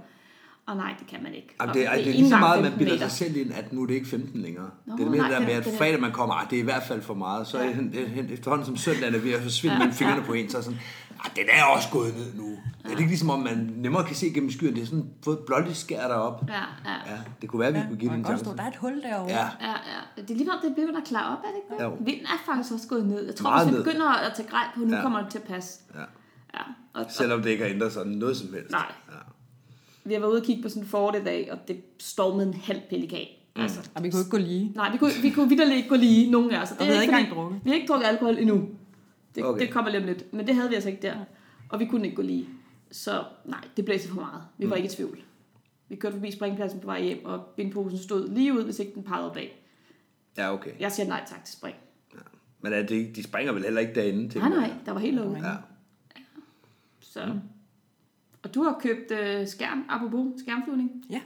B: Og nej, det kan man ikke.
C: Jamen,
B: Og
C: det, er, det,
B: ikke
C: er lige så
B: engang
C: meget, man
B: 15
C: bilder
B: meter.
C: sig selv ind, at nu er det ikke 15 længere.
B: Nå,
C: Nå, det er mere
B: nej,
C: det der
B: det-
C: med, at
B: det er-
C: fredag man kommer, ah, det er i hvert fald for meget. Så
B: Ja.
C: ja. hen, hen, efterhånden som søndag er ved at forsvinde mellem fingrene på en, så er sådan, ah, den er også gået ned nu. Ja. Er det ikke ligesom, om man nemmere kan se gennem skyen? Det er sådan, fået blåligt skær derop.
B: Ja, ja.
C: Ja, det kunne være, at vi ja, kunne give
D: og
C: den en
D: man kan
C: chance.
D: godt stå, der er et hul derovre.
C: Ja,
B: Ja, ja. Det er lige meget, det begynder at klare op, er det ikke det?
C: Jo.
B: Vinden er faktisk også gået ned. Jeg tror,
C: Meget
B: hvis det
C: ned.
B: begynder at tage grej på, nu ja.
C: Ja.
B: kommer det til at passe.
C: Ja.
B: ja. Og, og
C: selvom det ikke har ændret sig noget som helst.
B: Nej.
C: Ja.
B: vi har været ude og kigge på sådan en Ford i dag, og det stormede en halv pelikan. Mm. Altså,
D: Og vi kunne ikke gå lige.
B: nej, vi kunne, vi kunne vidderligt ikke gå lige, nogen af os. Det
D: vi havde
B: ikke
D: ikke
B: fordi-
D: engang drukket.
B: Vi har ikke drukket alkohol endnu. Det, okay.
C: Okay.
B: det kommer lige om lidt. Men det havde vi altså ikke der. Og vi kunne ikke gå lige. Så nej, det blæste for meget. Vi var
C: Mm.
B: ikke i tvivl. Vi kørte forbi springpladsen på vej hjem, og vindposen stod lige ud, hvis ikke den pegede opad.
C: Ja, okay.
B: Jeg siger nej tak til spring.
C: Men er det, de springer vel heller ikke derinde til?
B: Nej, nej, der var helt lukket.
D: Ja.
B: Så. Og du har købt øh, skærm, apropos skærmflyvning.
D: Ja.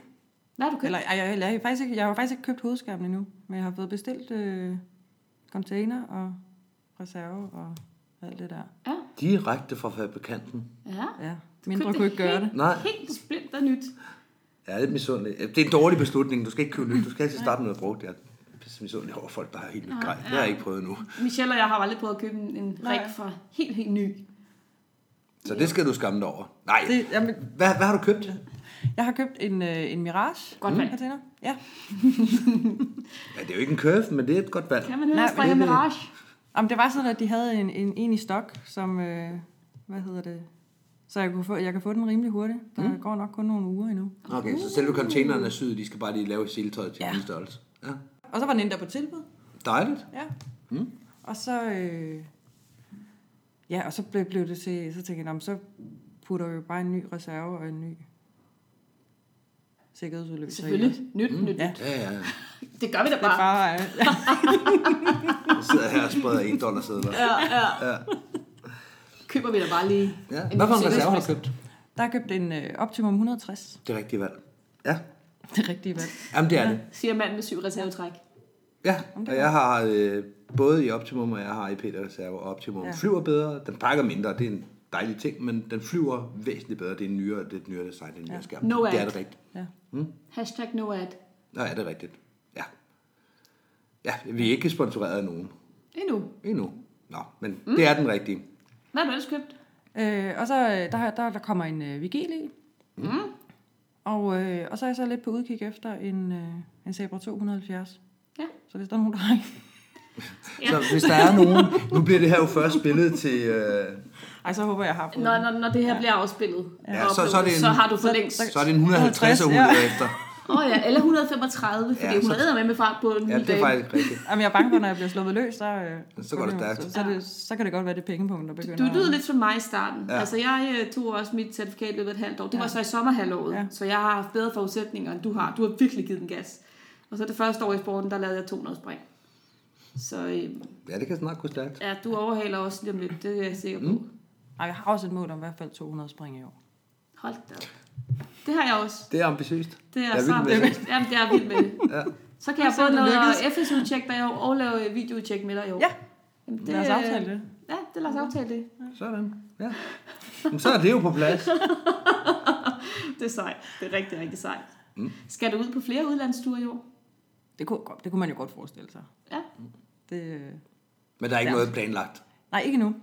B: Hvad har du købt?
D: Eller, ej, jeg, jeg, jeg, har faktisk ikke, jeg har faktisk ikke købt hovedskærmen endnu, men jeg har fået bestilt øh, container og reserve og alt det der.
B: Ja,
C: Direkte fra fabrikanten.
B: ja.
D: Ja, mindre
B: Købte
D: kunne ikke gøre det.
B: helt-
C: Nej.
B: Helt splinter nyt.
C: Jeg er lidt misundelig. Det er en dårlig beslutning. Du skal ikke købe nyt. Du skal altid starte med noget brugt. Jeg er pisse misundelig over folk, der har helt nyt grej. Det har jeg ikke prøvet endnu.
B: Michelle og jeg har aldrig prøvet at købe en, en rig fra helt, helt ny.
C: Så det skal du skamme dig over. Nej.
D: Det, jamen,
C: Hvad, hvad har du købt?
D: jeg har købt en, øh, en Mirage.
B: Godt valg.
D: Container. Ja.
C: Ja, det er jo ikke en curve, men det er et godt valg.
B: Kan man høre,
D: Nej,
B: at springe
C: det-
B: Mirage?
D: Jamen, det var sådan, at de havde en, en, en i stok, som... Øh, hvad hedder det? Så jeg, kunne få, jeg kan få den rimelig hurtigt. Der mm. går nok kun nogle uger endnu.
C: Okay, så selve containeren er syet. De skal bare lige lave siltøjet til
D: Ja.
C: ja. en størrelse. Ja.
D: Og så var den endda på tilbud.
C: Dejligt.
D: Ja. Mm. Og så... Øh, ja, og så blev, blev det til... Så tænkte jeg, "Nå, men så putter vi jo bare en ny reserve og en ny sikkerhedsudløser. i
B: Selvfølgelig.
D: os."
B: Nyt,
C: Mm.
B: nyt.
D: Ja.
C: Ja, ja.
B: Det gør vi da
D: Det er
B: bare.
D: bare... Øh, ja.
C: Jeg sidder her og spreder en dollar sædler. Ja.
B: Køber vi da bare lige.
C: ja. Hvad for en reserve har du købt?
D: Der er købt en øh, Optimum 160.
C: Det rigtige valg. Ja.
D: Det rigtige valg.
C: Jamen, det er det.
B: Siger manden med syv reservetræk.
C: Ja, og jeg har øh, både i Optimum, og jeg har i Peter Reserve, og Optimum
D: Ja.
C: ja. flyver bedre. Den pakker mindre, det er en dejlig ting, men den flyver væsentligt bedre. Det er en nyere, det er et nyere design, det er en nyere skærm.
B: No
C: det er
B: ad.
C: det rigtigt.
D: Ja.
B: Hashtag no ad.
C: Nå, ja, det er rigtigt. Ja. Ja, vi er ikke sponsoreret af nogen
B: Endnu.
C: endnu. Nå, men mm. det er den rigtige.
B: Hvad har du ellers købt?
D: Øh, og så øh, der, der, der kommer en øh, Vigili. Mm. Og, øh, og så er jeg så lidt på udkig efter en, øh, en Sabra 270.
B: Ja.
D: Så hvis der er nogen, der har en...
C: Ja. Så hvis der er nogen... Nu bliver det her jo først spillet til... Øh,
D: Ej, så håber jeg, jeg har fået
B: Når,
D: den.
B: når, når det her bliver afspillet,
C: Ja,
B: og
C: så- så er det
B: uploadet,
C: en-
B: så har du for længst.
C: så er det en 150 og 100
D: 160,
C: efter.
B: Åh oh, ja, eller 135, fordi
C: Ja,
B: hun
C: så-
B: er med med fart på en
C: Ja,
B: lille
C: det er
B: dame.
C: faktisk rigtigt.
D: Jamen, jeg er bange for, når jeg bliver sluppet løs, så, øh,
C: Så går det stærkt.
D: Så, så, er det, så kan det godt være, det er pengepunkten, der begynder.
B: Du lyder
D: at-
B: lidt som mig i starten. Ja.
C: Ja.
B: Altså, jeg øh, tog også mit certifikat i løbet af et halvt år. Det ja. var så i sommerhalvåret, ja.
D: Ja.
B: så jeg har haft bedre forudsætninger, end du har. Du har virkelig givet den gas. Og så det første år i sporten, der lavede jeg 200 spring. Så øh,
C: Ja, det kan snart gå stærkt.
B: ja, du overhaler også lige om lidt, det er jeg sikker på. Mm.
D: Ej, jeg har også et mål om i hvert fald 200 spring i år.
B: Hold da op. Det har jeg også.
C: Det er ambitiøst.
B: Det er,
C: Jeg
B: så
C: vild med det.
B: ambitiøst. Jamen, det er jeg vild med. ja. Så kan jeg
D: Så er
B: både
D: det
B: lave
D: lykkedes.
B: FSU-tjek der i år, og lave videoudtjek med dig i år.
D: Ja.
B: Jamen, det,
D: Lad os aftale det.
B: Ja, det lad os aftale det.
C: Sådan, ja. Men så er det jo på plads.
B: Det er sejt. Det er rigtig, rigtig sejt. Mm. Skal du ud på flere udlandsture i år?
D: Det kunne, godt- det kunne man jo godt forestille sig.
B: Ja.
D: Det, øh,
C: Men der er ikke
D: Ja.
C: noget planlagt.
D: nej, ikke nu.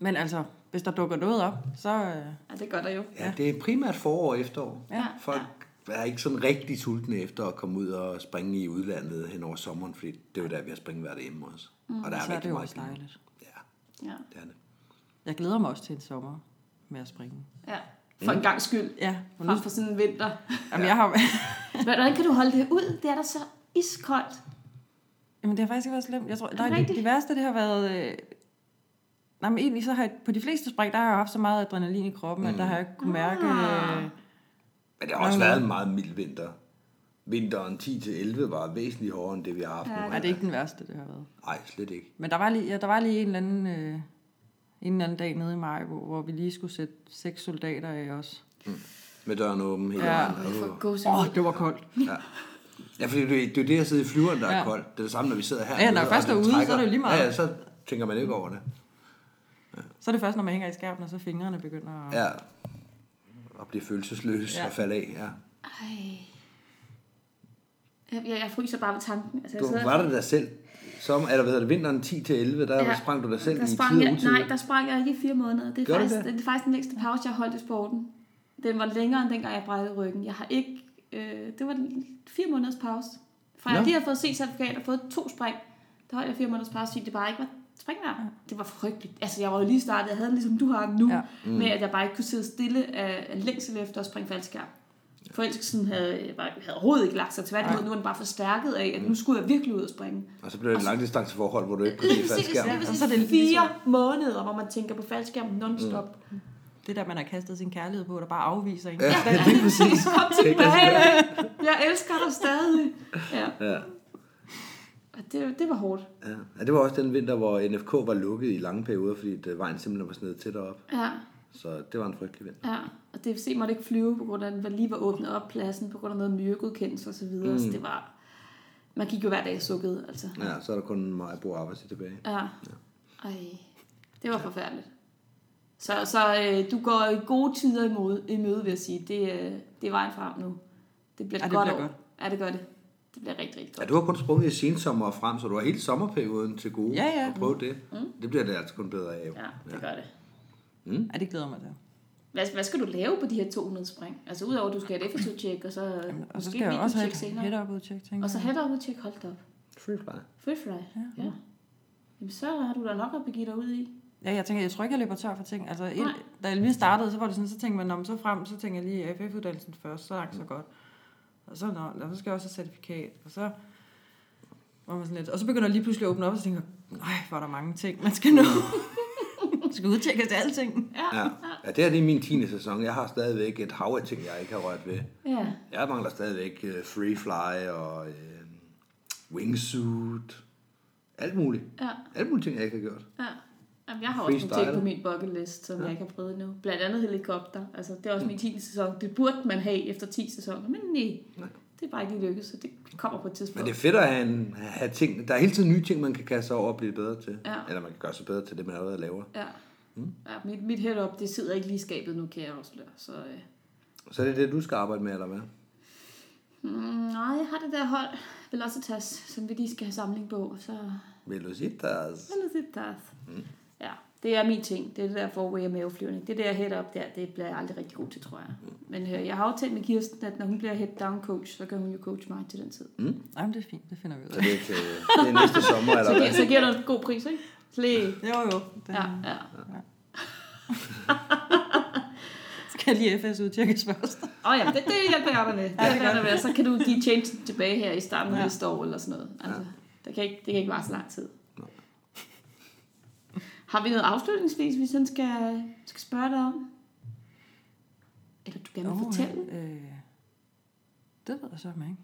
D: Men altså, hvis der dukker noget op, så... Øh,
B: Ja, det gør der jo.
C: Ja, det er primært forår og efterår.
B: Ja.
C: Folk er ikke sådan rigtig sultne efter at komme ud og springe i udlandet hen over sommeren, fordi det er jo der, vi har springet hver hjemme også. Mm. Og der er
D: så er
C: rigtig
D: det jo
C: meget
D: også
C: liv.
D: dejligt.
C: Ja,
B: Ja.
C: det er det.
D: Jeg glæder mig også til en sommer med at springe.
B: ja. For
C: Mm.
B: en gang skyld.
D: Ja, for nu,
B: Frem for sådan en vinter.
D: jamen, jeg har,
B: Men Hvordan kan du holde det ud? Det er da så iskoldt.
D: jamen, det har faktisk ikke været slemt. Jeg tror,
B: det
D: nej, det,
B: rigtigt?
D: det værste, det har været... Øh, nej, men egentlig så har jeg, på de fleste spring, der har jeg haft så meget adrenalin i kroppen, mm. at der har jeg ikke kunne mærke...
B: Ah.
D: Øh,
C: Men det har også
D: Nå, ja.
C: været en meget mild vinter. Vinteren 10-11 var væsentligt hårdere end det, vi har haft nu.
D: nej, det er ikke den værste, det har været.
C: Nej, slet ikke.
D: Men der var lige, ja, der var lige en eller anden... Øh, en eller anden dag nede i Maribo, hvor vi lige skulle sætte seks soldater af os.
C: Med døren åben hele
D: Ja.
C: vejen.
B: For
C: Åh.
D: Åh,
B: gåsehud.
D: oh, det var koldt.
C: Ja, fordi det, det er jo det, jeg sidder i flyveren, der er
D: Ja.
C: ja. koldt. Det er det samme, når vi sidder her.
D: når først er ude, så er det jo lige meget.
C: Ja, ja, så tænker man ikke over det.
D: Så er det først, når man hænger i skærmen, og så fingrene begynder at...
C: Ja. Og blive følelsesløs
D: Ja.
C: ja. og falde af, ja.
B: Ej. Jeg, jeg, jeg fryser bare ved tanken. Altså, jeg
C: Du
B: sidder-
C: var det dig selv. Som, eller hvad hedder det, vinteren 10-11, der ja, sprang du dig selv
B: der
C: i
B: sprang
C: tid og
B: jeg,
C: utid.
B: Nej, der sprang jeg ikke i fire måneder. Det er,
C: Gør du
B: faktisk, det?
C: det?
B: det er faktisk den længste pause, jeg har holdt i sporten. Den var længere end dengang, jeg brækkede ryggen. Jeg har ikke... Øh, det var den- fire måneders pause. Fra jeg
C: Nå.
B: lige har fået C-certifikat og fået to spring, der holdt jeg fire måneders pause, fordi det bare ikke var springvejr. Det var frygteligt. Altså, jeg var jo lige startet. Jeg havde den, ligesom du har den nu, ja.
D: Ja.
B: mm. med at jeg bare ikke kunne sidde stille af, af længsel efter at springe faldskærm. Forelskelsen havde, var, havde overhovedet ikke lagt sig. Tværtimod, nu var den bare forstærket af,
C: Mm.
B: at nu skulle jeg virkelig ud og springe.
C: Og så blev det et langdistanceforhold, hvor du ikke kunne
B: Lige
C: se fast
B: præcis, lige
C: skærm.
B: præcis.
D: Og så er det
B: fire ligesom... måneder, hvor man tænker på faldskærm non-stop. Mm.
D: Det der, man har kastet sin kærlighed på, der bare afviser en.
C: Ja, lige præcis.
B: Kom tilbage! Jeg elsker dig stadig. Ja.
C: Ja.
B: Og det, det var hårdt.
C: Ja. ja, det var også den vinter, hvor NFK var lukket i lange perioder, fordi det, vejen simpelthen var snedet tættere op.
B: Ja,
C: Så det var en frygtelig vinter.
B: ja. Og DFC måtte ikke flyve, på grund af, at den var lige var åbnet op pladsen, på grund af noget miljøgodkendelse osv. Mm. Så det var... Man gik jo hver dag sukket, altså.
C: Ja, så er der kun mig at bruge arbejdstid tilbage.
B: Ja. Ej. Det var forfærdeligt. Så, så øh, du går i gode tider i møde, i møde vil jeg sige. Det, øh, det er vejen frem nu. Det bliver
D: Ja,
B: et
D: det
B: godt
D: bliver
B: år.
D: godt.
B: Ja, det gør det. Det bliver rigtig, rigtig
C: Ja,
B: godt.
C: du har kun sprunget i sensommer og frem, så du har hele sommerperioden til gode
D: Ja, ja.
C: at prøve det. Mm. Det bliver det altså kun bedre af. jo.
B: Ja, det gør det.
D: Ja, det glæder jeg mig til.
B: Hvad, hvad skal du lave på de her 200 spring? Altså udover at du skal have et FSU-tjek, og så Jamen,
D: Og så skal jeg også have et head up udtjek, tænker
B: Og så
D: jeg.
B: head up tjek holdt op.
C: Free fly.
B: Free fly. Ja. ja. Jamen så har du da nok at begive dig ud i.
D: Ja, jeg tænker, jeg tror ikke, jeg løber tør for ting. Altså, ind,
B: Nej.
D: da jeg lige startede, så var det sådan, så tænkte man, "Nå, men så frem, så tænker jeg lige AFF-uddannelsen først, så langt så godt. Og så, nå, nå, så skal jeg også have certifikat. Og så var man sådan lidt, og så begynder jeg lige pludselig at åbne op, og så tænker jeg, nej, hvor er der mange ting, man skal nå. man skal udtjekkes til alting.
C: Ja. ja, det her det er min 10. sæson. Jeg har stadigvæk et hav af ting, jeg ikke har rørt ved.
B: Ja.
C: Jeg mangler stadigvæk øh, free fly og øh, wingsuit. Alt muligt.
B: Ja.
C: Alt muligt ting, jeg ikke har gjort.
B: Ja. Jamen, jeg har også nogle ting
C: Freestyle.
B: på min bucket list, som ja. jeg ikke har prøvet endnu. Blandt andet helikopter. Altså, det er også min 10. sæson. Det burde man have efter 10 sæsoner, men nej. nej. Det er bare ikke lige lykkedes, så det kommer på et tidspunkt.
C: Men det er fedt at have, en, have ting. Der er hele tiden nye ting, man kan kaste sig over og blive bedre til.
B: Ja.
C: Eller man kan gøre sig bedre til det, man allerede laver.
B: Ja. Mm. ja mit, mit head-up, det sidder ikke lige i skabet nu, kan jeg afsløre. Så, øh.
C: Så er det det, du skal arbejde med, eller hvad?
B: mm, nej, jeg har det der hold, Velocitas, som vi lige skal have samling på. Så
C: Velocitas.
B: Velocitas.
C: Mm-hmm.
B: Mm. Ja, det er min ting. Det er det der forway og maveflyvning. Det der head-up der, det bliver jeg aldrig rigtig god til, tror jeg.
C: Mm-hmm.
B: Mm. Men øh, jeg har aftalt med Kirsten, at når hun bliver head-down coach, så kan hun jo coach mig til den tid. Mm.
D: Nej, men det er fint, det finder vi ud
C: Så
D: af.
C: det er, til, det er næste sommer, eller
B: Så,
C: hvad?
B: gi- så giver du en god pris, ikke? Slæ.
D: Jo, jo. Den,
B: Ja,
D: ja.
B: ja.
D: Skal jeg lige FS udtjekkes først?
B: Åh oh, ja, det, det hjælper jeg dig med. Det hjælper jeg dig med. Så kan du give changen tilbage her i starten af næste år eller sådan noget. Altså, det, kan ikke, det kan ikke være så lang tid. Har vi noget afslutningsvis, vi sådan skal, skal spørge dig om? Eller du gerne vil fortælle?
D: øh, det ved jeg så ikke.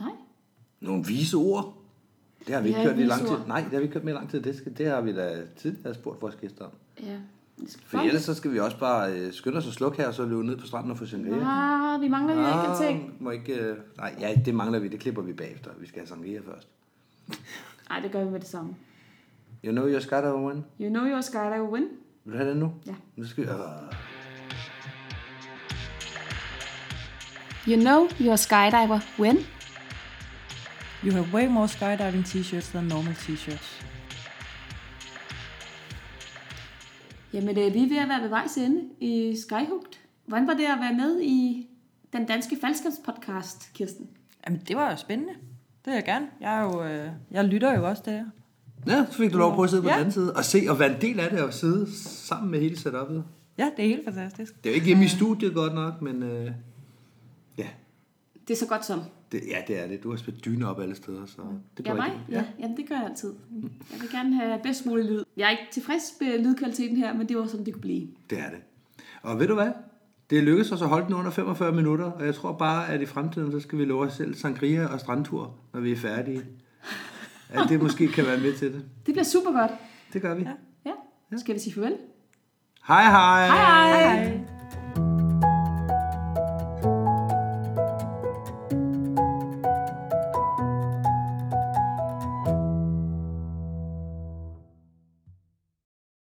B: Nej?
C: Nogle vise ord. Det har vi
B: Vi
C: ikke
B: har
C: kørt i
B: ikke
C: lang
B: vise
C: tid.
B: ord.
C: Nej, det har vi ikke kørt med i lang tid. Det, skal, det har vi da tidligere spurgt vores gæster om.
B: Ja. Vi skal
C: For
B: Fuck.
C: ellers så skal vi også bare øh, skynde os og slukke her, og så løbe ned på stranden og få sangria.
B: Ah, vi mangler jo ikke en ting.
C: må ikke... Øh, nej, ja, det mangler vi. Det klipper vi bagefter. Vi skal have sangria først.
B: Nej, det gør vi med det samme.
C: You know your scatter, Owen.
B: You know your skydive will win.
C: Vil du have den nu?
B: Ja.
C: Nu skal vi... Øh.
B: You know your skydiver win.
D: You have way more skydiving t-shirts than normal t-shirts.
B: Jamen, øh, vi er ved at være ved vejs ende i Skyhugt. Hvordan var det at være med i den danske podcast, Kirsten?
D: Jamen, det var jo spændende. Det vil jeg gerne. Jeg, er jo, øh, jeg lytter jo også der.
C: Ja, så fik du lov at prøve at sidde på
D: Ja.
C: den anden side og se og være en del af det og sidde sammen med hele setupet.
D: Ja, det er helt fantastisk.
C: Det er jo ikke hjemme i studiet godt nok, men øh, ja,
B: Det er så godt som.
C: det, ja, det er det. Du har spillet dyne op alle steder, så det
B: Ja,
C: går
B: mig?
C: ikke.
B: Ja. Jamen, det gør jeg altid. Jeg vil gerne have bedst mulig lyd. Jeg er ikke tilfreds med lydkvaliteten her, men det var sådan, det kunne blive.
C: Det er det. Og ved du hvad? Det lykkedes os at holde den under 45 minutter, og jeg tror bare, at i fremtiden, så skal vi love os selv sangria og strandtur, når vi er færdige. At det måske kan være med til det.
B: Det bliver super godt.
C: Det gør vi.
B: Ja. Skal vi sige farvel?
C: Hej hej!
B: Hej hej! hej.